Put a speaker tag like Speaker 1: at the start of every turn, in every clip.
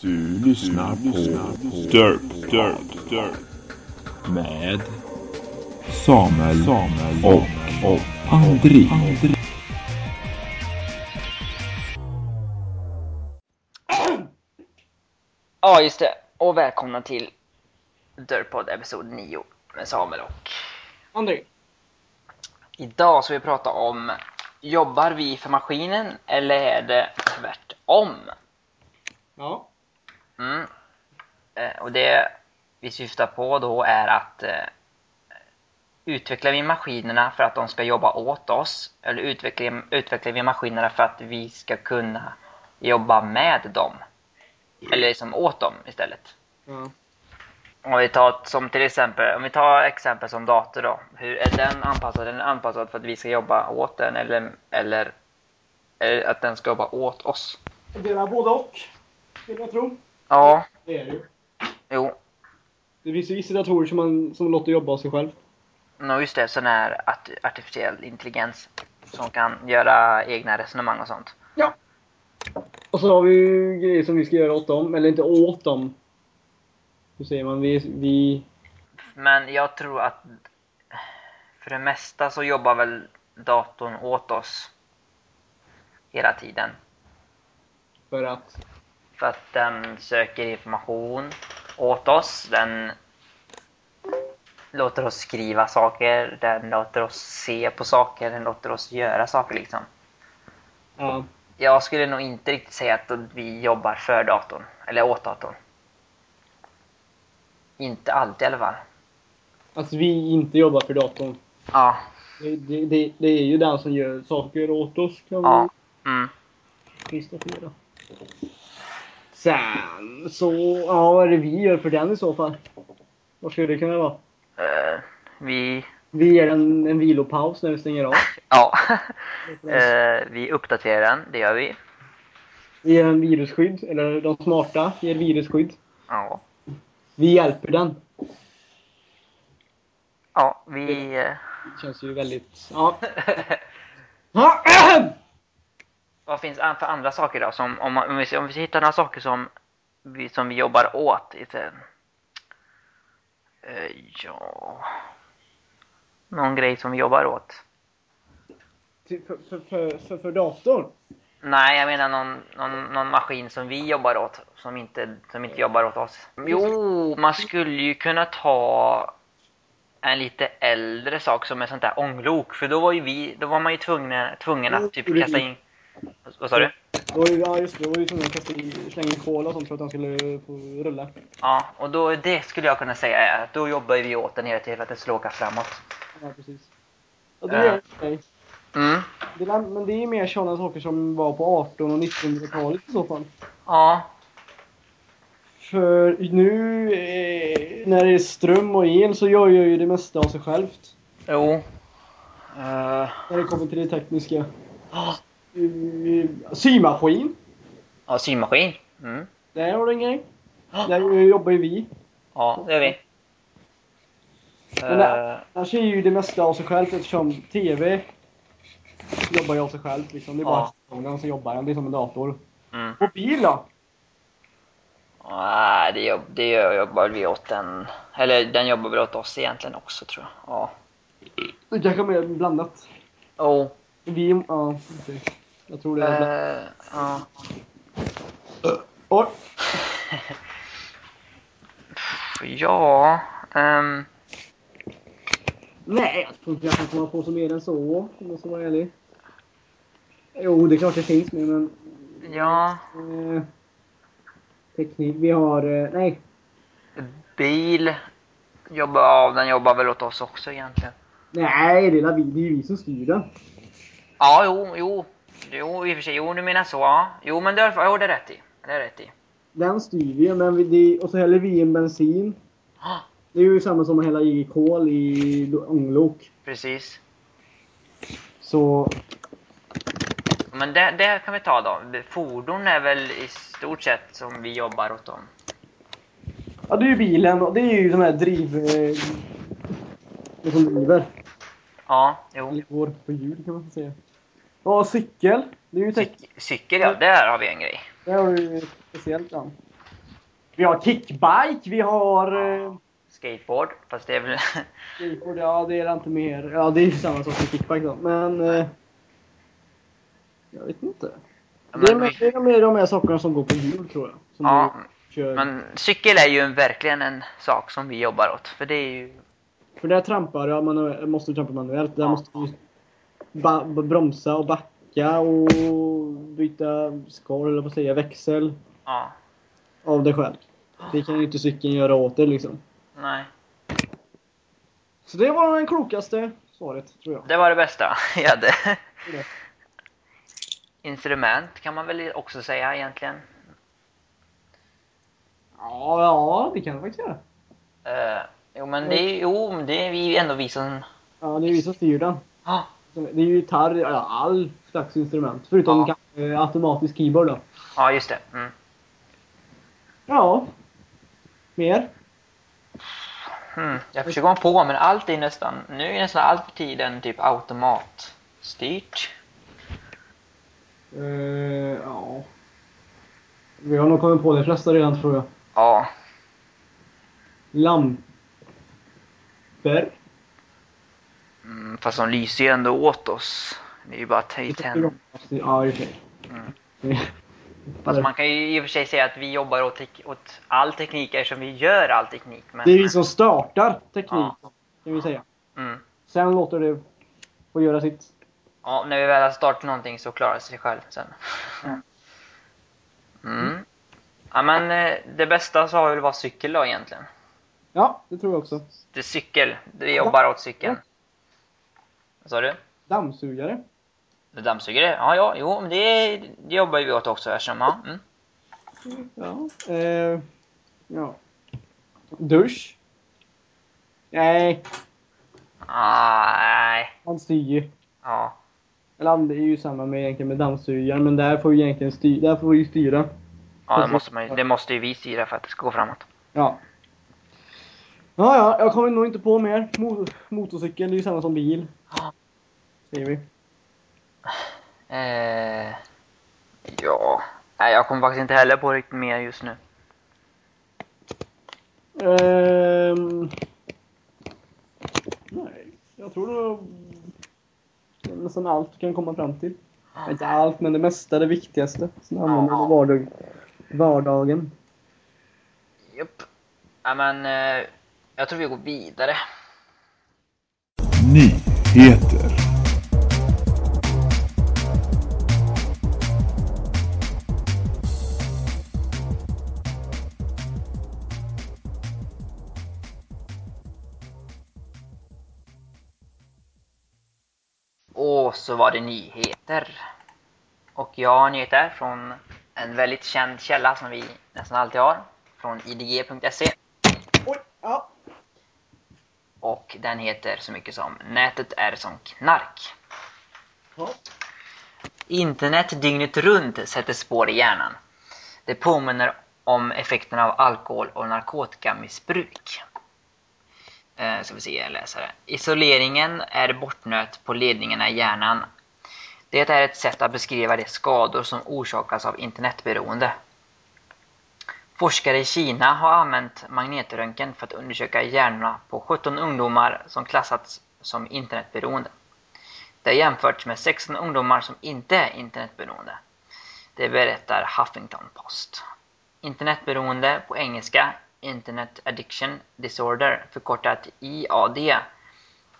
Speaker 1: Du lyssnar på Dirt, Dirt, Dirt med Samuel, Samuel och, och André.
Speaker 2: Ja, just det. Och välkomna till Dörrpodd episod 9 med Samuel och...
Speaker 3: André.
Speaker 2: Idag ska vi prata om, jobbar vi för maskinen eller är det tvärtom?
Speaker 3: Ja.
Speaker 2: Mm. Eh, Och det vi syftar på då är att eh, utvecklar vi maskinerna för att de ska jobba åt oss eller utvecklar, utvecklar vi maskinerna för att vi ska kunna jobba med dem? Eller liksom åt dem istället.
Speaker 3: ja.
Speaker 2: Om vi tar som till exempel, om vi tar exempel som dator då. Hur är den anpassad? Är den anpassad för att vi ska jobba åt den eller, eller, eller att den ska jobba åt oss?
Speaker 3: Det är både och, vill jag tro.
Speaker 2: Ja,
Speaker 3: Det är det ju.
Speaker 2: jo.
Speaker 3: Det finns ju vissa datorer som, man, som låter jobba av sig själv.
Speaker 2: Nå just det, sån här art artificiell intelligens som kan göra egna resonemang och sånt.
Speaker 3: Och så har vi ju grejer som vi ska göra åt dem, eller inte åt dem. Hur säger man? Vi, vi
Speaker 2: Men jag tror att för det mesta så jobbar väl datorn åt oss hela tiden.
Speaker 3: för att...
Speaker 2: För att den söker information åt oss. Den låter oss skriva saker. Den låter oss se på saker. Den låter oss göra saker liksom.
Speaker 3: Ja.
Speaker 2: Jag skulle nog inte riktigt säga att vi jobbar för datorn. Eller åt datorn. Inte alltid i alla fall.
Speaker 3: Att Alltså, vi inte jobbar för datorn.
Speaker 2: Ja.
Speaker 3: Det, det, det, det är ju den som gör saker åt oss,
Speaker 2: Ja.
Speaker 3: kan man
Speaker 2: Mm.
Speaker 3: konstatera. Sen så, ja vad är det vi gör för den i så fall? Vad skulle det kunna vara?
Speaker 2: Eh, vi...
Speaker 3: Vi ger en, en vilopaus när vi stänger av.
Speaker 2: Ja. Eh, vi uppdaterar den. Det gör vi.
Speaker 3: Vi ger en virusskydd, eller de smarta ger virusskydd.
Speaker 2: Ja.
Speaker 3: Vi hjälper den.
Speaker 2: Ja, vi... eh,
Speaker 3: Det känns ju väldigt... Ja. Ha, ahem!
Speaker 2: Vad finns an- för andra saker då? Som, om, man, om, vi, om vi hittar några saker som vi, som vi jobbar åt. Inte, eh, ja... Någon grej som vi jobbar åt.
Speaker 3: Till- för, för, för, för, för datorn?
Speaker 2: Nej, jag menar någon, någon, någon maskin som vi jobbar åt. Som inte, som inte jobbar åt oss. Jo, man skulle ju kunna ta en lite äldre sak som är sånt där ånglok. För då var ju vi, då var man ju tvungen, tvungen att typ kasta in... Vad sa du?
Speaker 3: Då var ju, ja just det, då var ju tvungen att kasta i- slänga in kol och sånt för att den skulle få rulla.
Speaker 2: Ja, och då, det skulle jag kunna säga är att då jobbar vi åt den hela tiden för att den ska åka framåt.
Speaker 3: Ja, precis. Ja, det är, nej.
Speaker 2: Mm.
Speaker 3: det är, men det är ju mer sådana saker som var på 18 och 1900-talet i så fall.
Speaker 2: Ja.
Speaker 3: För nu eh, när det är ström och el så gör jag ju det mesta av sig självt.
Speaker 2: Jo. Eh,
Speaker 3: När det kommer till det tekniska. Eh, Symaskin.
Speaker 2: ja, symaskin. Mm.
Speaker 3: Där har du en grej. Där jobbar ju vi.
Speaker 2: Ja, det gör vi.
Speaker 3: Men
Speaker 2: Eh,
Speaker 3: det- Annars är ju det mesta av sig självt eftersom TV jobbar ju av sig självt. Liksom. Det är bara
Speaker 2: Ja.
Speaker 3: ja. som jobbar den. Det är som en dator.
Speaker 2: mm.
Speaker 3: Mobil då?
Speaker 2: Nej, det, jobb, det gör- jobbar vi åt den. Eller den jobbar väl åt oss egentligen också tror jag. Ja.
Speaker 3: Det kanske är mer blandat.
Speaker 2: Jo.
Speaker 3: Vi, ja, precis. Jag tror det är blandat.
Speaker 2: eh, ja.
Speaker 3: Oj,
Speaker 2: Ja. ehm,
Speaker 3: Nej, jag tror inte jag kan komma på så mer än så. Om jag ska vara ärlig. Jo, det är klart det finns mer men
Speaker 2: ja.
Speaker 3: Eh, teknik. Vi har... Eh, nej.
Speaker 2: Bil. Jobbar, ja, den jobbar väl åt oss också egentligen.
Speaker 3: Nej, det är, vi, det är ju vi som styr den.
Speaker 2: Ja, jo, jo. Jo, i och för sig. Jo, du menar så. Ja. Jo, men det har jo, det är rätt i. Det är rätt i.
Speaker 3: Den styr vi men vi, det, och så häller vi i en bensin.
Speaker 2: Ah,
Speaker 3: Det är ju samma som att hälla i kol i lo- ånglok.
Speaker 2: Precis.
Speaker 3: Så...
Speaker 2: Men det, det kan vi ta då. Fordon är väl i stort sett som vi jobbar åt dem.
Speaker 3: Ja, det är ju bilen och det är ju de här driv... Eh, det som driver.
Speaker 2: Ja, jo.
Speaker 3: Eller går på hjul kan man säga. Ja, cykel. Det är ju teknik.
Speaker 2: Cykel, ja. Där har vi en grej.
Speaker 3: Det har du ju speciellt den.
Speaker 4: Vi har kickbike, vi har... eh,
Speaker 2: Skateboard, fast det är väl...
Speaker 4: skateboard, ja.
Speaker 3: Ja, det är inte mer. Ja, det är ju samma sak som kickback då. Men... Eh, jag vet inte.
Speaker 2: Ja,
Speaker 3: Det är,
Speaker 2: men
Speaker 3: mer- det är mer de här sakerna som går på jul tror jag. Som
Speaker 2: Ja,
Speaker 3: du kör.
Speaker 2: men cykel är ju en, verkligen en sak som vi jobbar åt. För det är ju...
Speaker 3: För där trampar jag, man måste du trampa manuellt. Där
Speaker 2: Ja.
Speaker 3: måste du ba- ba- bromsa och backa och byta skal, eller vad säger jag, växel
Speaker 2: Ja,
Speaker 3: av dig själv. Det kan ju inte cykeln göra åt dig liksom.
Speaker 2: nej.
Speaker 3: Så det var den klokaste svaret, tror jag.
Speaker 2: Det var det bästa jag hade.
Speaker 3: Det.
Speaker 2: Instrument kan man väl också säga egentligen.
Speaker 3: Ja, ja, det kan det faktiskt göra.
Speaker 2: Eh, jo, men det är, jo, men det är vi ändå vi som...
Speaker 3: Ja, det är vi som styr den.
Speaker 2: Ja,
Speaker 3: Det är ju gitarr, ja, all slags instrument. Förutom
Speaker 2: Ja.
Speaker 3: kanske eh, automatisk keyboard då.
Speaker 2: ja just det. Mm.
Speaker 3: Ja. Mer?
Speaker 2: Mm. Jag försöker komma på, men allt är nästan... Nu är nästan allt för tiden typ automatstyrt.
Speaker 3: Eh, ja. Vi har nog kommit på de flesta redan tror jag.
Speaker 2: Ja,
Speaker 3: Lampor?
Speaker 2: mm, fast de lyser ju ändå åt oss. Det är ju bara t- tänd.
Speaker 3: Ja, i och för sig.
Speaker 2: Fast Mm. man kan ju i och för sig säga att vi jobbar åt, tek- åt all teknik eftersom vi gör all teknik. Men...
Speaker 3: Det är vi som startar tekniken,
Speaker 2: Ja.
Speaker 3: kan vi säga.
Speaker 2: Mm.
Speaker 3: Sen låter det få göra sitt.
Speaker 2: Ja, när vi väl har startat någonting så klarar det sig själv sen. Mm. Ja, men eh, det bästa så har väl varit cykel då egentligen.
Speaker 3: Ja, det tror jag också.
Speaker 2: Det är cykel. Vi jobbar åt cykeln. Vad sa du?
Speaker 3: Dammsugare?
Speaker 2: Du dammsugare? Ja, ja, jo, men det, det jobbar ju vi åt också eftersom, ja. Mm.
Speaker 3: Ja. Eh, ja. Dusch? Nej,
Speaker 2: Ah, nej.
Speaker 3: han styr ju.
Speaker 2: Ja.
Speaker 3: Eller han- det är ju samma med egentligen med dammsugaren, men där får vi egentligen styra. Där får vi ju styra.
Speaker 2: ja det, måste man, ju- det måste ju vi styra för att det ska gå framåt.
Speaker 3: Ja. Ja, ja, jag kommer nog inte på mer. Mo- motorcykel, det är ju samma som bil.
Speaker 2: Ja.
Speaker 3: Säger vi.
Speaker 2: Eh, ja. Nej, jag kommer faktiskt inte heller på riktigt mer just nu.
Speaker 3: Ehm... Nej, jag tror då... det är nästan allt du kan komma fram till. Inte allt, men det mesta, det viktigaste som du använder i vardag, vardagen.
Speaker 2: Japp. Ja, men eh, jag tror vi går vidare.
Speaker 1: Nyheter.
Speaker 2: Och så var det nyheter. Och jag har nyheter från en väldigt känd källa som vi nästan alltid har. Från idg.se.
Speaker 3: Oj, ja.
Speaker 2: Och den heter så mycket som Nätet är som knark.
Speaker 3: Ja.
Speaker 2: Internet dygnet runt sätter spår i hjärnan. Det påminner om effekten av alkohol och narkotikamissbruk. Eh, ska vi se, jag läser det. Isoleringen är bortnöt på ledningarna i hjärnan. Det är ett sätt att beskriva de skador som orsakas av internetberoende. Forskare i Kina har använt magnetröntgen för att undersöka hjärnorna på 17 ungdomar som klassats som internetberoende. Det har jämförts med 16 ungdomar som inte är internetberoende. Det berättar Huffington Post. Internetberoende på engelska Internet Addiction Disorder, förkortat IAD,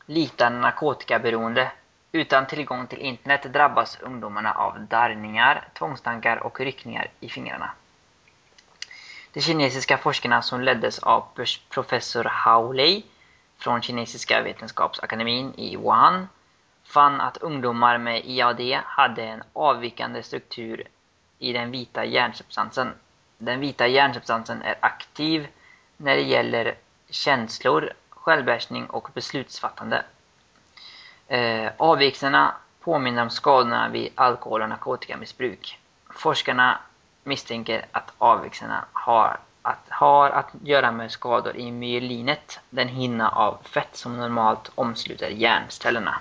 Speaker 2: liknar narkotikaberoende. Utan tillgång till internet drabbas ungdomarna av darrningar, tvångstankar och ryckningar i fingrarna. De kinesiska forskarna som leddes av pers- professor Hao Lei från Kinesiska vetenskapsakademin i Wuhan fann att ungdomar med IAD hade en avvikande struktur i den vita hjärnsubstansen. Den vita hjärnsubstansen är aktiv när det gäller känslor, självbehärskning och beslutsfattande. Eh, avvikelserna påminner om skadorna vid alkohol och narkotikamissbruk. Forskarna misstänker att avvikelserna har att, har att göra med skador i myelinet, den hinna av fett som normalt omsluter hjärncellerna.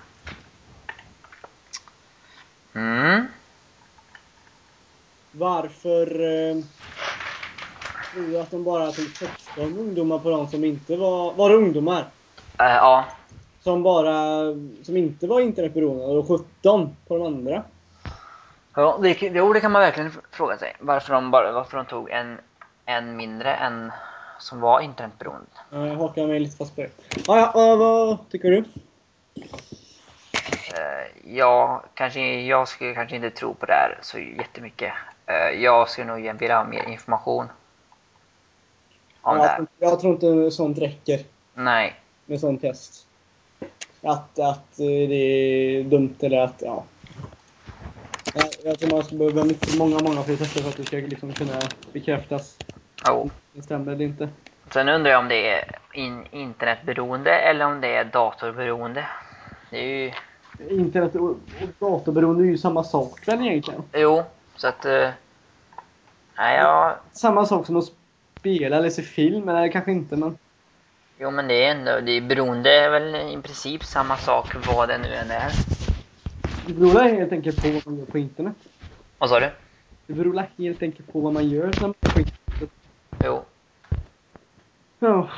Speaker 2: Mm.
Speaker 3: Varför... Eh, tror ju att de bara tog 16 ungdomar på de som inte var, var det ungdomar.
Speaker 2: Eh, ja.
Speaker 3: Som bara, som inte var internetberoende och 17 på de andra.
Speaker 2: Ja, det, jo, det kan man verkligen fråga sig. Varför de, bara, varför de tog en, en mindre än som var internetberoende.
Speaker 3: Ja, Jag hakar mig lite fast på det. Ja, ja, vad, vad tycker du?
Speaker 2: Eh, jag, kanske, jag skulle kanske inte tro på det här så jättemycket. Eh, jag skulle nog vilja ha mer information. Om det
Speaker 3: jag,
Speaker 2: här.
Speaker 3: tror- jag tror inte sånt räcker
Speaker 2: Nej.
Speaker 3: med sånt test. Att, att eh, det är dumt eller att, ja. Jag, jag tror man skulle behöva mycket, många, många fler tester för att det ska liksom kunna bekräftas.
Speaker 2: Jo.
Speaker 3: Det stämmer eller inte.
Speaker 2: Sen undrar jag om det är in, internetberoende eller om det är datorberoende. Det är ju...
Speaker 3: Internet och datorberoende är ju samma sak väl egentligen?
Speaker 2: Jo, så att... eh, nej, jag...
Speaker 3: Samma sak som att spela eller se film, eller kanske inte men.
Speaker 2: Jo, men det är ändå... Det är beroende är väl i princip samma sak vad det nu än är.
Speaker 3: Det beror helt enkelt på vad man gör på internet.
Speaker 2: Vad sa du?
Speaker 3: Det beror helt enkelt på vad man gör när man är på internet.
Speaker 2: Jo.
Speaker 3: Ja.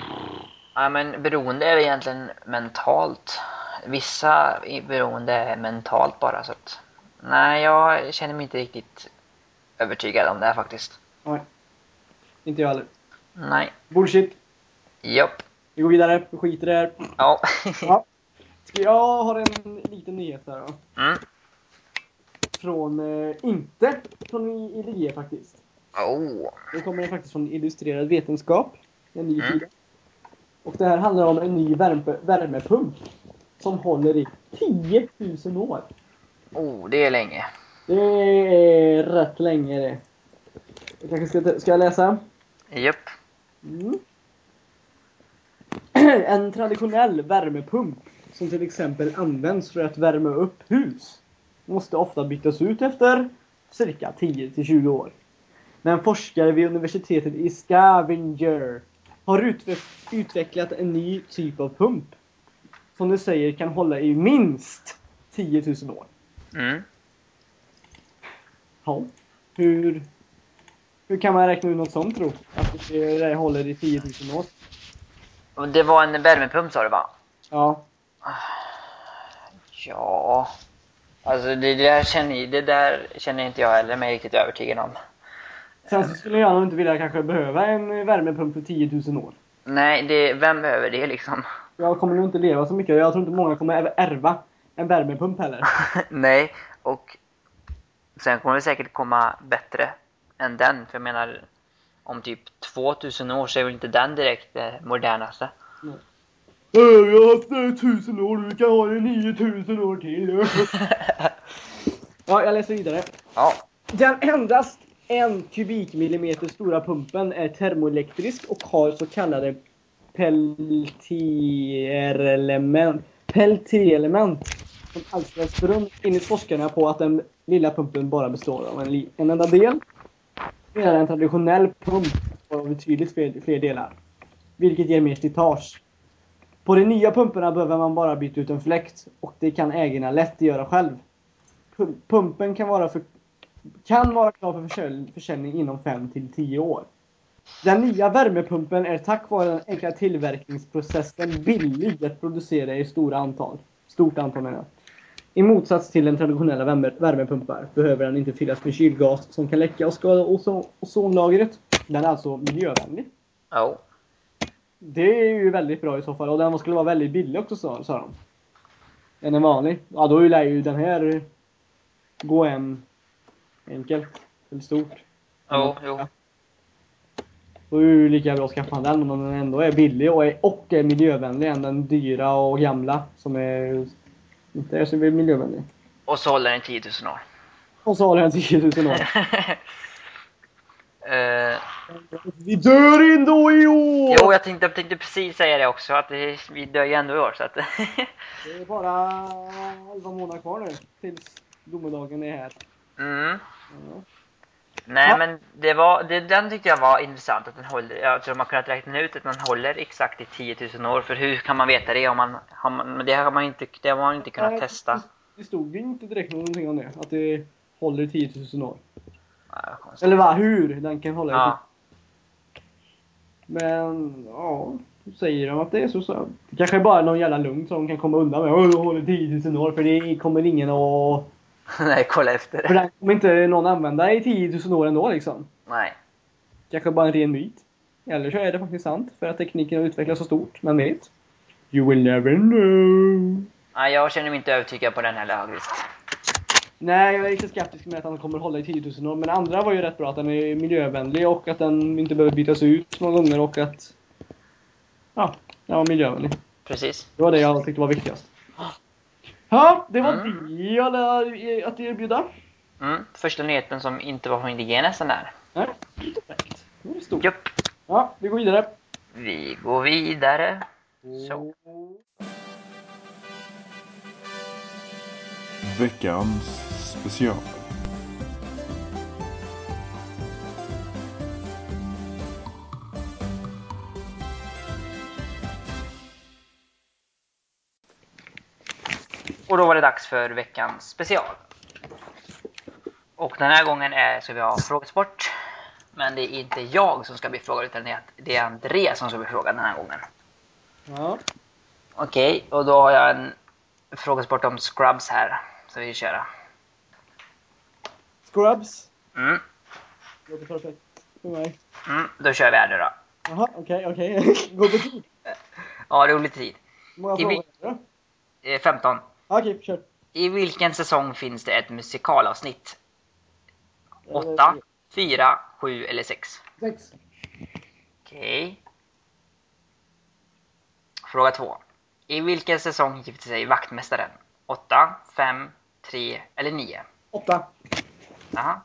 Speaker 2: Ja, men beroende är egentligen mentalt. Vissa i- beroende är mentalt bara, så att... Nej, jag känner mig inte riktigt övertygad om det här faktiskt.
Speaker 3: Nej. Inte jag heller.
Speaker 2: Nej.
Speaker 3: Bullshit.
Speaker 2: Japp.
Speaker 3: Vi går vidare. Vi skiter i det här.
Speaker 2: Ja.
Speaker 3: Ja. Ska jag har en liten nyhet här då.
Speaker 2: Mm.
Speaker 3: Från, eh, inte från IDG faktiskt.
Speaker 2: Oh.
Speaker 3: Nu kommer den faktiskt från Illustrerad Vetenskap. En ny
Speaker 2: Mm.
Speaker 3: sida. Och det här handlar om en ny värme, värmepump. Som håller i 10 000 år.
Speaker 2: Oh, det är länge.
Speaker 3: Det är rätt länge det. Jag kanske ska, ska jag läsa?
Speaker 2: Japp.
Speaker 3: Mm. En traditionell värmepump som till exempel används för att värma upp hus måste ofta bytas ut efter cirka 10 till 20 år. Men forskare vid universitetet i Stavanger har utve- utvecklat en ny typ av pump som de säger kan hålla i minst 10 000 år.
Speaker 2: Mm.
Speaker 3: Ja. Hur, hur kan man räkna ut något sånt tro? Att det det håller i 10 000 år?
Speaker 2: Och Det var en värmepump sa du va?
Speaker 3: Ja,
Speaker 2: Ja. Alltså det där känner, det där känner inte jag heller mig riktigt övertygad om.
Speaker 3: Sen så skulle jag nog inte vilja kanske behöva en värmepump för 10 000 år.
Speaker 2: Nej, det, vem behöver det liksom?
Speaker 3: Jag kommer nog inte leva så mycket. Jag tror inte många kommer ärva- ärva en värmepump heller.
Speaker 2: Nej, och sen kommer det säkert komma bättre än den. För jag menar, om typ 2000 år så är väl inte den direkt det modernaste.
Speaker 3: Jag har haft den i 1000 år, du kan ha den 9000 år till. ja, jag läser vidare.
Speaker 2: Ja.
Speaker 3: Den endast en kubikmillimeter stora pumpen är termoelektrisk och har så kallade peltierelement peltierelement som alstras brunn enligt forskarna på att den lilla pumpen bara består av en, li- en enda del. Medan en traditionell pump har betydligt fler, fler delar. Vilket ger mer slitage. På de nya pumparna behöver man bara byta ut en fläkt och det kan ägarna lätt göra själv. Pum- Pumpen kan vara för kan vara klar för försälj- försäljning inom 5 till 10 år. Den nya värmepumpen är tack vare den enkla tillverkningsprocessen billig att producera i stora antal. Stort antal menar jag. I motsats till den traditionella värme- värmepumpar behöver den inte fyllas med kylgas som kan läcka och skada ozo- ozonlagret. Den är alltså miljövänlig.
Speaker 2: Ja.
Speaker 3: Det är ju väldigt bra i så fall. Och den skulle vara väldigt billig också sa, sa de. Den är vanlig. Ja, då lär ju den här gå en enkelt. Eller stort.
Speaker 2: Jo, jo.
Speaker 3: Då är det ju lika bra att skaffa den om den ändå är billig och är, och är miljövänlig än den dyra och gamla som är inte är så miljövänlig.
Speaker 2: Och så håller den 10 000 år.
Speaker 3: Och så har den 10 000 år.
Speaker 2: Eh,
Speaker 3: Vi dör ändå i år!
Speaker 2: jo, jag tänkte, jag tänkte precis säga det också, att det, vi dör ju ändå i år. Så att
Speaker 3: Det är bara 11 månader kvar nu tills domedagen är här.
Speaker 2: mm.
Speaker 3: Ja.
Speaker 2: Nej,
Speaker 3: Ja.
Speaker 2: men det var, det, den tyckte jag var intressant. Att den håller, jag tror man kunnat räkna ut att den håller exakt i 10 000 år. För hur kan man veta det? Om man, har man, men det har man inte, det har man inte kunnat
Speaker 3: Nej,
Speaker 2: testa.
Speaker 3: Det stod ju inte direkt någonting om det. Att det håller i 10 000 år.
Speaker 2: Ja, konstigt.
Speaker 3: Eller va, hur den kan hålla i
Speaker 2: Ja.
Speaker 3: Men ja, säger de att det är så så. Det kanske är bara någon jävla lugn som kan komma undan med. Åh, du håller 10 000 år för det kommer ingen att...
Speaker 2: Nej, kolla efter
Speaker 3: För
Speaker 2: det.
Speaker 3: den kommer inte någon använda i 10 000 år ändå liksom.
Speaker 2: Nej.
Speaker 3: Kanske bara en ren myt. Eller så är det faktiskt sant för att tekniken har utvecklats så stort. Men vet. You will never know.
Speaker 2: Nej, jag känner mig inte övertygad på den heller faktiskt.
Speaker 3: Nej, jag är lite skeptisk med att den kommer hålla i 10 000 år. Men andra var ju rätt bra. Att den är miljövänlig och att den inte behöver bytas ut så många gånger och att... Ja, den var miljövänlig.
Speaker 2: Precis.
Speaker 3: Det var det jag tyckte var viktigast. Ja, det var
Speaker 2: Mm.
Speaker 3: det jag hade att erbjuda.
Speaker 2: Mm. Första nyheten som inte var från Indien nästan där.
Speaker 3: Nej, lite fräckt. Det var
Speaker 2: Mm.
Speaker 3: stort.
Speaker 2: Japp.
Speaker 3: Ja, vi går vidare.
Speaker 2: Vi går vidare. Så.
Speaker 1: Veckans special.
Speaker 2: Och då var det dags för veckans special. Och den här gången är, ska vi ha frågesport. Men det är inte jag som ska bli frågad utan det är- det är Andreas som ska bli frågad den här gången.
Speaker 3: Ja.
Speaker 2: Okej, och då har jag en frågesport om scrubs här. Så vi kör.
Speaker 3: Scrubs.
Speaker 2: Mm,
Speaker 3: Låter perfekt för mig.
Speaker 2: mm, då kör vi här nu då.
Speaker 3: Jaha, okej, okej. Gå på tid.
Speaker 2: Ja, det är lite tid.
Speaker 3: Hur många
Speaker 2: Give
Speaker 3: frågor
Speaker 2: me-
Speaker 3: är det då?
Speaker 2: Eh, 15.
Speaker 3: Ja, Okej, kör.
Speaker 2: I vilken säsong finns det ett musikalavsnitt?
Speaker 3: Eh,
Speaker 2: 8, 4, 7 eller 6?
Speaker 3: Sex.
Speaker 2: Okej. Fråga 2. I vilken säsong gifte sig vaktmästaren? 8, 5, 3 eller 9?
Speaker 3: Åtta.
Speaker 2: Aha.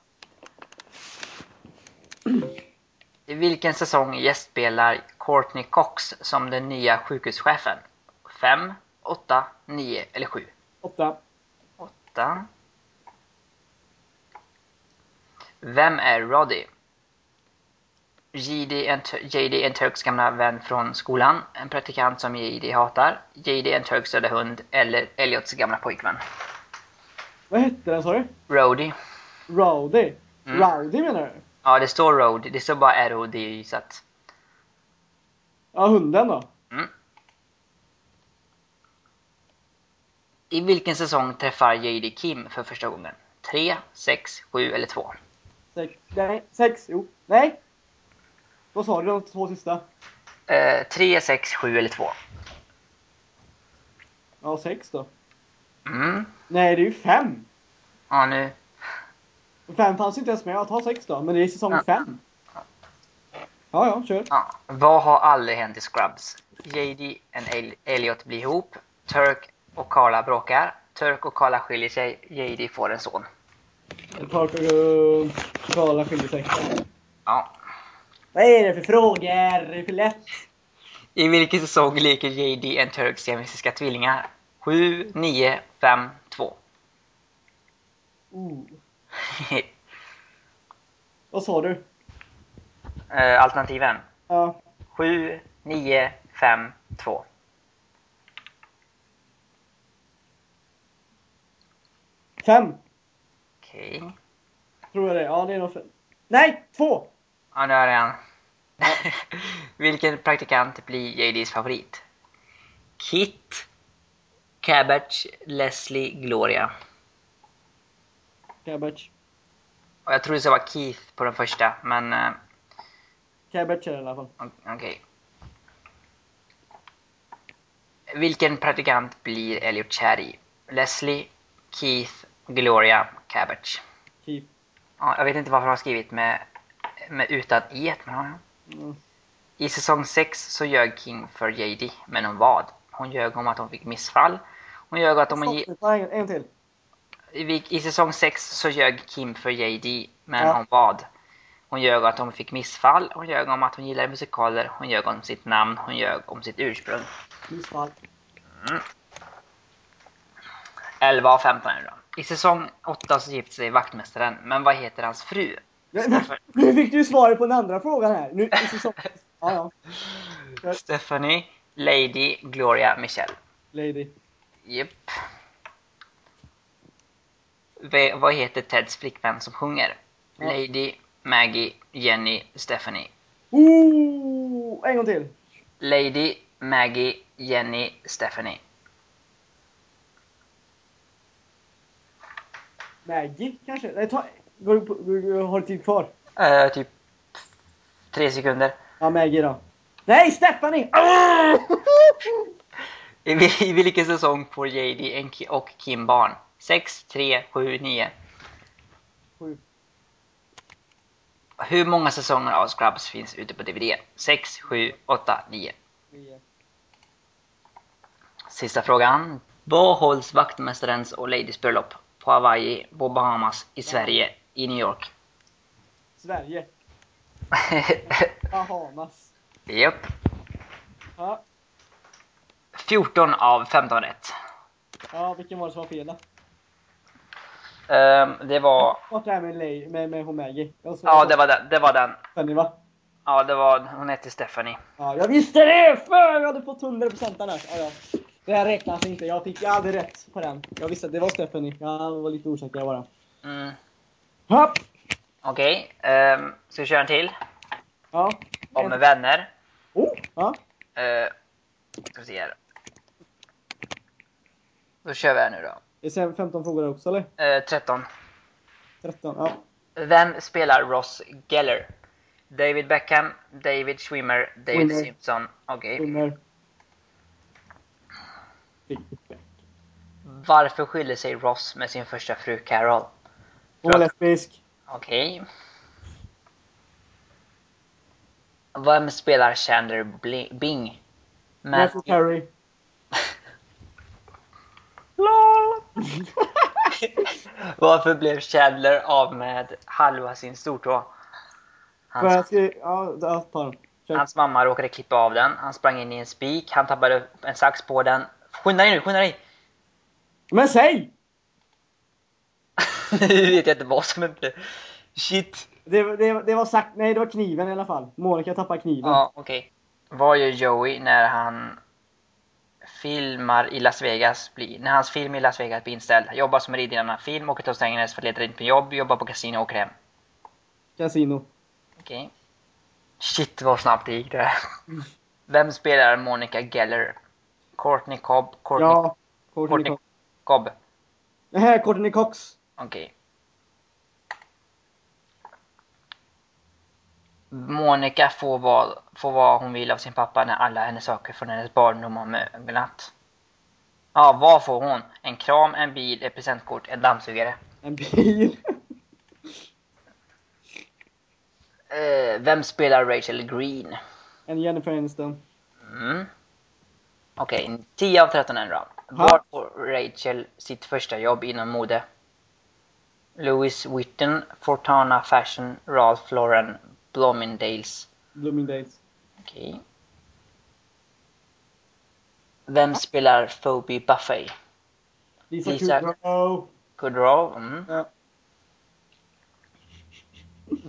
Speaker 2: I vilken säsong gästspelar Courtney Cox som den nya sjukhuschefen? 5, 8, 9 eller 7?
Speaker 3: Åtta.
Speaker 2: 8. Vem är Roddy? JD and, JD and Turks gamla vän från skolan, en praktikant som JD hatar, JD and Turks döda hund eller Elliots gamla pojkvän.
Speaker 3: Vad hette den sa du?
Speaker 2: Roddy.
Speaker 3: Rowdy.
Speaker 2: Mm.
Speaker 3: Rowdy menar du?
Speaker 2: Ja, det står Roddy, det står bara R-O-D-Y så att...
Speaker 3: Ja, hunden då?
Speaker 2: I vilken säsong träffar JD Kim för första gången? 3, 6, 7 eller 2?
Speaker 3: Sex. Nej, sex. Jo. Nej. Vad sa du de två sista?
Speaker 2: 3, 6, 7 eller 2?
Speaker 3: Ja, sex då.
Speaker 2: Mm.
Speaker 3: Nej, det är ju fem.
Speaker 2: Ja, nu...
Speaker 3: Fem fanns ju inte ens med. Jag tar sex då. Men det är säsong
Speaker 2: Ja.
Speaker 3: fem. Ja, ja, kör.
Speaker 2: Ja. Vad har aldrig hänt i Scrubs? JD och El- Elliot blir ihop. Turk och Carla bråkar. Turk och Carla skiljer sig. JD får en son.
Speaker 3: Park och Karla skiljer sig.
Speaker 2: Ja.
Speaker 3: Vad är det för frågor? Det är för lätt.
Speaker 2: I vilken säsong leker JD en Turk siamesiska tvillingar? 7, 9, 5, 2.
Speaker 3: Oh. Vad sa du?
Speaker 2: Eh, Alternativen?
Speaker 3: Ja.
Speaker 2: 7, 9, 5, 2.
Speaker 3: Fem.
Speaker 2: Okej.
Speaker 3: Tror jag det. Ja, det är nog fem. Nej! Två!
Speaker 2: Ja, nu är det en. Vilken praktikant blir JDs favorit? Kit, Cabbage, Leslie, Gloria.
Speaker 3: Cabbage.
Speaker 2: Och jag tror det ska vara Keith på den första, men eh,
Speaker 3: Cabbage är det i alla fall.
Speaker 2: o- okej. Vilken praktikant blir Elliot kär i? Leslie, Keith, Gloria, Cabbage.
Speaker 3: Keith.
Speaker 2: Ja, jag vet inte varför han har skrivit med, med utan i, men ja, ja.
Speaker 3: Mm.
Speaker 2: I säsong 6 så ljög King för JD, men om vad? Hon ljög om att hon fick missfall. Hon ljög att om hon...
Speaker 3: Stopp, ta en, en till.
Speaker 2: I, vik- I säsong 6 så ljög Kim för JD, men
Speaker 3: Ja.
Speaker 2: om vad? Hon ljög att hon fick missfall, hon ljög om att hon gillade musikaler, hon ljög om sitt namn, hon ljög om sitt ursprung.
Speaker 3: Missfall.
Speaker 2: 11 av 15 är det då. I säsong 8 så gifte sig vaktmästaren, men vad heter hans fru?
Speaker 3: Ja, Nu fick du svaret på den andra frågan här. Nu, i säsong... Ja, ja.
Speaker 2: Stephanie, Lady, Gloria, Michelle.
Speaker 3: Lady.
Speaker 2: Japp. V- vad heter Teds flickvän som sjunger?
Speaker 3: Ja.
Speaker 2: Lady, Maggie, Jenny, Stephanie.
Speaker 3: Ooh! Oh, En gång till.
Speaker 2: Lady, Maggie, Jenny, Stephanie.
Speaker 3: Maggie kanske? Nej, ta, går, du på- går, går, har du tid kvar?
Speaker 2: Eh, typ tre sekunder.
Speaker 3: Ja, Maggie då. Nej, Stephanie!
Speaker 2: I, vil- I vilken säsong får JD en ki- och Kim barn? 6, 3, 7, 9.
Speaker 3: Sju.
Speaker 2: Hur många säsonger av Scrubs finns ute på DVD? 6, 7, 8, 9. Sista frågan. Vad hålls vaktmästarens och Ladies bröllop? På Hawaii, på Bahamas, i Sverige, i New York?
Speaker 3: Sverige. Bahamas.
Speaker 2: Japp.
Speaker 3: Ja,
Speaker 2: 14 av 15 rätt.
Speaker 3: ja, vilken var det som var fel då?
Speaker 2: Ehm, det var...
Speaker 3: Vart det här med, Lay, med, med hon Maggie? Jag såg-
Speaker 2: Ja, det var den. Det var den.
Speaker 3: Stephanie va?
Speaker 2: Ja, det var... Hon hette Stephanie.
Speaker 3: Ja, jag visste det! För jag hade fått 100% annars. Ja, ja. Det här räknas inte. Jag fick jag hade rätt på den. Jag visste att det var Stephanie. Jag var lite osäker bara.
Speaker 2: Mm.
Speaker 3: Hopp!
Speaker 2: Okej. ehm, ska vi köra en till?
Speaker 3: Ja.
Speaker 2: Om med vänner.
Speaker 3: Oh! Ja.
Speaker 2: Uh, ska vi se här. Då kör vi här nu då.
Speaker 3: Det är sen 15 frågor också eller?
Speaker 2: Eh, 13.
Speaker 3: 13? Ja.
Speaker 2: Vem spelar Ross Geller? David Beckham, David Schwimmer, David
Speaker 3: Schwimmer.
Speaker 2: Simpson. Okej.
Speaker 3: Under.
Speaker 2: Varför skiljer sig Ross med sin första fru Carol?
Speaker 3: Hon var lesbisk.
Speaker 2: Okej. Vem spelar Chandler Bli- Bing?
Speaker 3: Matthew
Speaker 2: Matthew-
Speaker 3: Perry. LOL!
Speaker 2: Varför blev Chandler av med halva sin stortå?
Speaker 3: För jag
Speaker 2: Hans,
Speaker 3: ska... Ja, jag tar den. Kör.
Speaker 2: hans mamma råkade klippa av den. Han sprang in i en spik. Han tappade en sax på den. Skynda dig nu, skynda dig!
Speaker 3: Men säg!
Speaker 2: nu vet jag inte vad som hände. Shit.
Speaker 3: Det, det, det var sagt... Nej, det var kniven i alla fall. Monica tappade kniven.
Speaker 2: Ja, okej. Vad gör Joey när han filmar i Las Vegas? Blir, när hans film i Las Vegas blir inställd? Jobbar som riddare i en annan film, åker till Los Angeles för att leta rent på jobb, jobbar på kasino och åker hem.
Speaker 3: Casino.
Speaker 2: Okej. Shit vad snabbt det gick där. Vem spelar Monica Geller? Courtney Cobb? Courtney,
Speaker 3: Ja. Courtney
Speaker 2: Courtney
Speaker 3: Cox.
Speaker 2: Cobb?
Speaker 3: Det här är Courtney Cox.
Speaker 2: Okej. Monica får vara, får vara hon vill av sin pappa när alla hennes saker från hennes barndom har möglat. Ja, vad får hon? En kram, en bil, ett presentkort, en dammsugare.
Speaker 3: En bil.
Speaker 2: Eh, vem spelar Rachel Green?
Speaker 3: En Jennifer Aniston.
Speaker 2: Mm. Okej, 10 av 13 är en bra. Var får Rachel sitt första jobb inom mode? Louis Vuitton, Fortana Fashion, Ralph Lauren, Bloomingdale's.
Speaker 3: Bloomingdales.
Speaker 2: Okej. Vem spelar Phoebe Buffay?
Speaker 3: Lisa
Speaker 2: Lisa.
Speaker 3: Kudrow.
Speaker 2: Kudrow? Mm.
Speaker 3: Ja.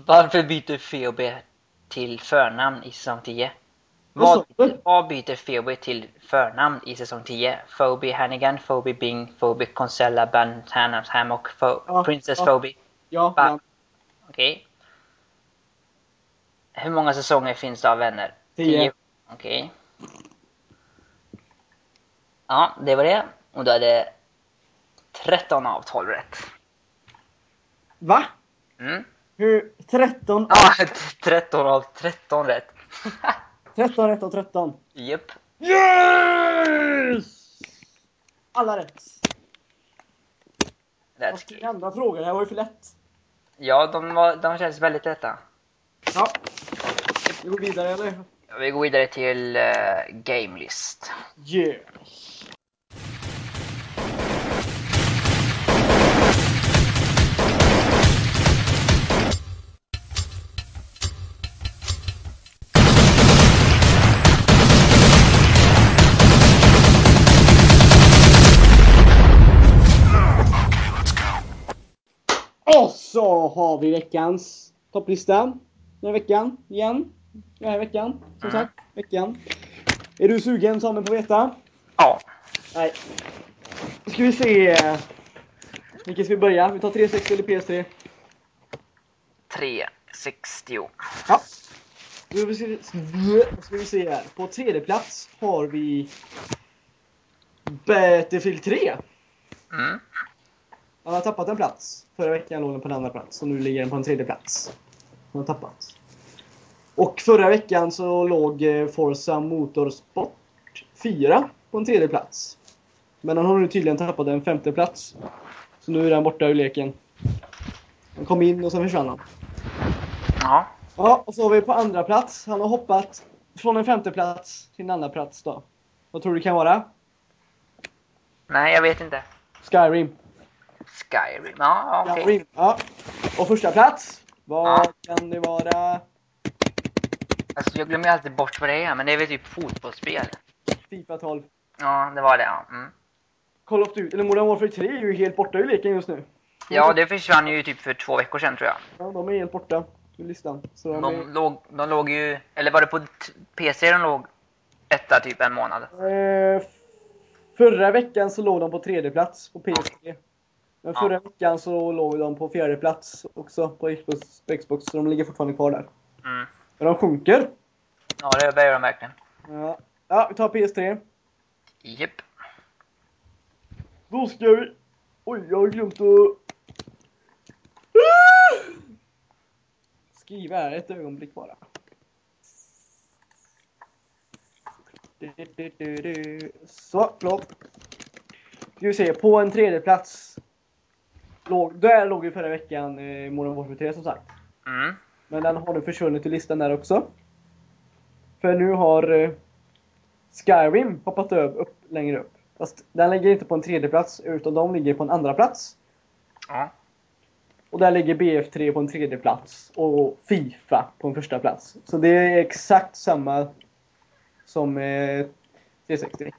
Speaker 2: Varför byter Phoebe till förnamn i säsong 10? Vad,
Speaker 3: Vad sa du?
Speaker 2: vad byter Phoebe till förnamn i säsong 10? Phoebe Hannigan, Phoebe Bing, Phoebe Consella, Bantanam Hammock, Pho-
Speaker 3: Ja,
Speaker 2: Princess
Speaker 3: ja.
Speaker 2: Phoebe.
Speaker 3: Ja,
Speaker 2: Va?
Speaker 3: ja.
Speaker 2: Okej. Hur många säsonger finns det av Vänner?
Speaker 3: Tio.
Speaker 2: Okej. Ja, det var det. Och då är det 13 av 12 rätt.
Speaker 3: Va?
Speaker 2: Mm.
Speaker 3: Hur? 13,
Speaker 2: Ja, 13 av 13 rätt.
Speaker 3: 13 rätt av 13.
Speaker 2: Japp.
Speaker 3: Yes! Alla rätt. Vad
Speaker 2: That's
Speaker 3: ska vi
Speaker 2: good.
Speaker 3: ändra frågor? Det här var ju för lätt.
Speaker 2: Ja, de, var, de känns väldigt lätta.
Speaker 3: Ja. Vi går vidare eller?
Speaker 2: Vi går vidare till eh, Game List.
Speaker 3: Yeah. Och så har vi veckans topplista. Den här veckan igen. Den här veckan, som sagt. Veckan. Är du sugen Samuel på att veta?
Speaker 2: Ja.
Speaker 3: Nej. Då ska vi se. eh, Vilken ska vi börja? Vi tar 360 eller PS3?
Speaker 2: 360.
Speaker 3: Ja. Nu ska vi- Vad ska vi se här. På tredje plats har vi Battlefield 3.
Speaker 2: Mm.
Speaker 3: Han har tappat en plats. Förra veckan låg den på en andra plats och nu ligger den på en tredje plats. Han har tappat. Och förra veckan så låg eh, Forza Motorsport 4 på en tredje plats. Men han har nu tydligen tappat en femte plats. Så nu är han borta ur leken. Han kom in och sen försvann han.
Speaker 2: Ja.
Speaker 3: Ja, och så har vi på andra plats. Han har hoppat från en femte plats till en andra plats då. Vad tror du det kan vara?
Speaker 2: Nej, jag vet inte.
Speaker 3: Skyrim.
Speaker 2: Skyrim. Ja, okej.
Speaker 3: Skyrim. Ja. Och första plats. Vad
Speaker 2: Ja.
Speaker 3: kan det vara?
Speaker 2: Alltså, jag glömmer ju alltid bort vad det är, men det är väl typ fotbollsspel.
Speaker 3: Fifa 12.
Speaker 2: Ja, det var det. Ja, mm.
Speaker 3: Call of Duty, eller Modern Warfare 3 är ju helt borta ur leken just nu.
Speaker 2: ja det försvann ju typ för två veckor sedan tror jag.
Speaker 3: Ja, de är helt borta ur listan. Så de
Speaker 2: De låg, de låg ju... Eller var det på t- PC de låg etta typ en månad?
Speaker 3: är, eh, förra veckan så låg de på tredje plats på PS3. Men
Speaker 2: Ja.
Speaker 3: förra veckan så låg de på fjärde plats också på Xbox, på Xbox så de ligger fortfarande kvar där.
Speaker 2: Mm.
Speaker 3: Men de sjunker.
Speaker 2: Ja, det börjar de verkligen.
Speaker 3: Ja, ja vi tar PS3.
Speaker 2: Japp.
Speaker 3: Då ska vi... Oj, jag har glömt att... Skriva här, ett ögonblick bara. Du, du, du, du. Så, plopp. Ska vi se, på en tredje plats. Låg, där låg ju förra veckan eh, Modern Warfare 3 som sagt.
Speaker 2: Mm.
Speaker 3: Men den har nu försvunnit ur listan där också. För nu har eh, Skyrim hoppat upp, upp längre upp. Fast den ligger inte på en tredje plats utan de ligger på en andra plats.
Speaker 2: Ja.
Speaker 3: Och där ligger BF3 på en tredje plats och Fifa på en första plats. Så det är exakt samma som eh, 360.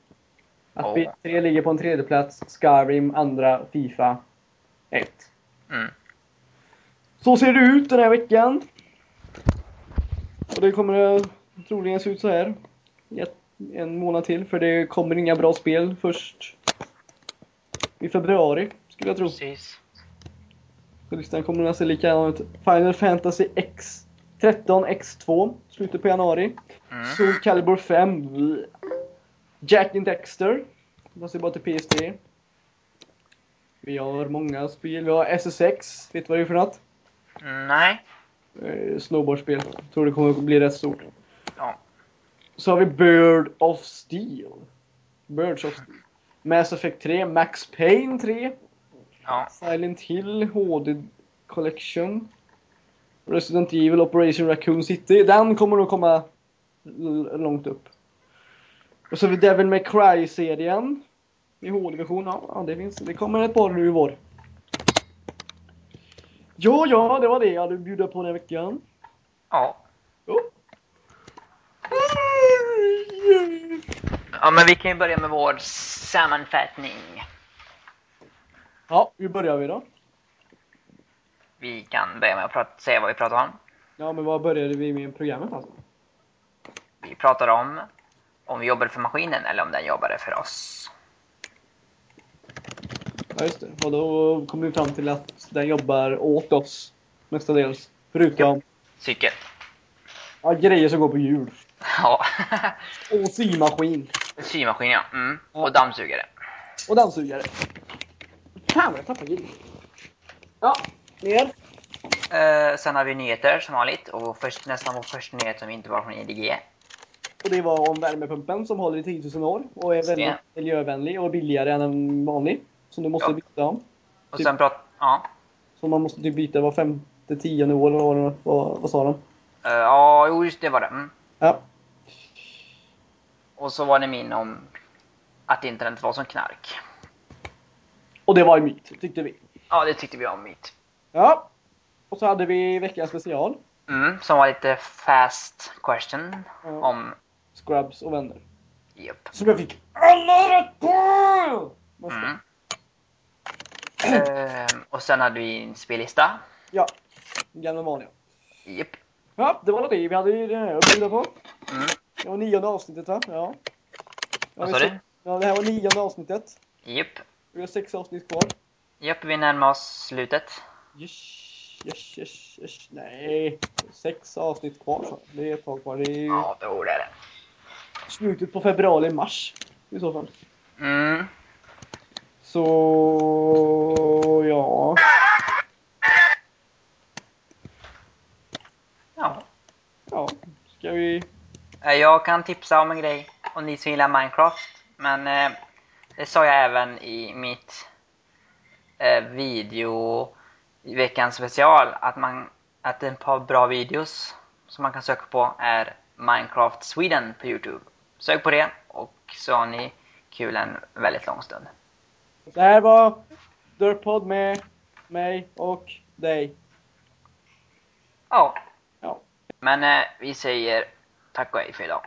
Speaker 3: Att
Speaker 2: Ja.
Speaker 3: BF3 ligger på en tredje plats, Skyrim andra, Fifa ett.
Speaker 2: Mm.
Speaker 3: Så ser det ut den här veckan. Och det kommer det troligen se ut så här. i ett- En månad till, för det kommer inga bra spel först i februari, skulle jag tro.
Speaker 2: Precis.
Speaker 3: Så listan kommer att se likadan ut. Final Fantasy X 13 X2, slutet på januari.
Speaker 2: Mm.
Speaker 3: Soul Calibur 5. bleh. Jack and Dexter. De ser bara till PS3. Vi har många spel. Vi har SSX. Vet du vad det är för något?
Speaker 2: Mm, Nej.
Speaker 3: eh, snowboardspel. Tror det kommer att bli rätt stort.
Speaker 2: Ja.
Speaker 3: Så har vi Bird of Steel. Birds of Steel. Mass Effect 3, Max Payne 3,
Speaker 2: Ja.
Speaker 3: Silent Hill HD Collection. Resident Evil Operation Raccoon City. Den kommer nog komma l- långt upp. Och så har vi Devil May Cry-serien. I HD-version. Ja, ja, det finns. Det kommer ett par nu i vår. Ja, ja, det var det jag hade att bjuda på den här veckan.
Speaker 2: Ja.
Speaker 3: Jo.
Speaker 2: Ja, men vi kan ju börja med vår sammanfattning.
Speaker 3: Ja, hur börjar vi då?
Speaker 2: Vi kan börja med att prata, säga vad vi pratar om.
Speaker 3: Ja, men vad började vi med i programmet alltså?
Speaker 2: Vi pratar om om vi jobbade för maskinen eller om den jobbade för oss.
Speaker 3: Ja, just det. Och då kom vi fram till att den jobbar åt oss mestadels. Förutom
Speaker 2: Cykel.
Speaker 3: ja, grejer som går på hjul.
Speaker 2: Ja.
Speaker 3: Och symaskin.
Speaker 2: Symaskin, ja. Mm. Och dammsugare.
Speaker 3: Och dammsugare. Fan vad jag tappade grejer. Ja, ner.
Speaker 2: Eh, sen har vi nyheter som vanligt. Och först, nästan vår första nyhet som inte var från IDG.
Speaker 3: Och det var om värmepumpen som håller i 10 000 år och är väldigt
Speaker 2: Ja.
Speaker 3: miljövänlig och billigare än en vanlig. Som du måste
Speaker 2: Ja.
Speaker 3: byta om.
Speaker 2: Och
Speaker 3: Typ.
Speaker 2: sen pratar... Ja.
Speaker 3: Som man måste typ byta var femte, tionde år eller vad det- vad, vad sa de?
Speaker 2: Eh, Ja, jo, just det var det. Mm.
Speaker 3: Ja,
Speaker 2: Och så var det min om att internet var som knark.
Speaker 3: Och det var ju myt, tyckte vi.
Speaker 2: Ja, det tyckte vi om mitt.
Speaker 3: Ja. Och så hade vi veckans special.
Speaker 2: Mm, som var lite fast question
Speaker 3: Ja.
Speaker 2: om...
Speaker 3: Scrubs och vänner.
Speaker 2: Japp.
Speaker 3: Som jag fick alla rätt på! Måste-
Speaker 2: Mm. Ehm, och sen hade vi en spellista.
Speaker 3: Ja. Gamla vanliga.
Speaker 2: Japp.
Speaker 3: Ja, det var det. Vi hade ju det här att bjuda på.
Speaker 2: Mm.
Speaker 3: Det var nionde avsnittet va? Ja. Ja,
Speaker 2: Vad
Speaker 3: vi
Speaker 2: sa
Speaker 3: se-
Speaker 2: du?
Speaker 3: Ja, det här var nionde avsnittet.
Speaker 2: Japp.
Speaker 3: Vi har sex avsnitt kvar.
Speaker 2: Japp, vi närmar oss slutet.
Speaker 3: Yes. yes, yes, yes. Nej, sex avsnitt kvar så. Det är ett tag kvar. Det är ju
Speaker 2: Ja, jo det är det.
Speaker 3: slutet på februari, mars i så fall.
Speaker 2: Mm.
Speaker 3: Så ja.
Speaker 2: Ja.
Speaker 3: ja. Ska vi...
Speaker 2: Eh, Jag kan tipsa om en grej om ni som gillar Minecraft. Men eh, det sa jag även i mitt eh, video i veckans special att, man, att ett par bra videos som man kan söka på är Minecraft Sweden på Youtube. Sök på det och så har ni kul en väldigt lång stund.
Speaker 3: Det här var Dirtpod med mig och dig.
Speaker 2: Ja,
Speaker 3: Ja.
Speaker 2: men eh, vi säger tack och hej för idag.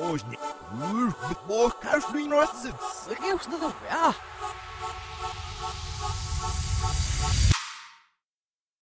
Speaker 1: Ой, не- Ух, бог, каждый раз, конечно, да. А.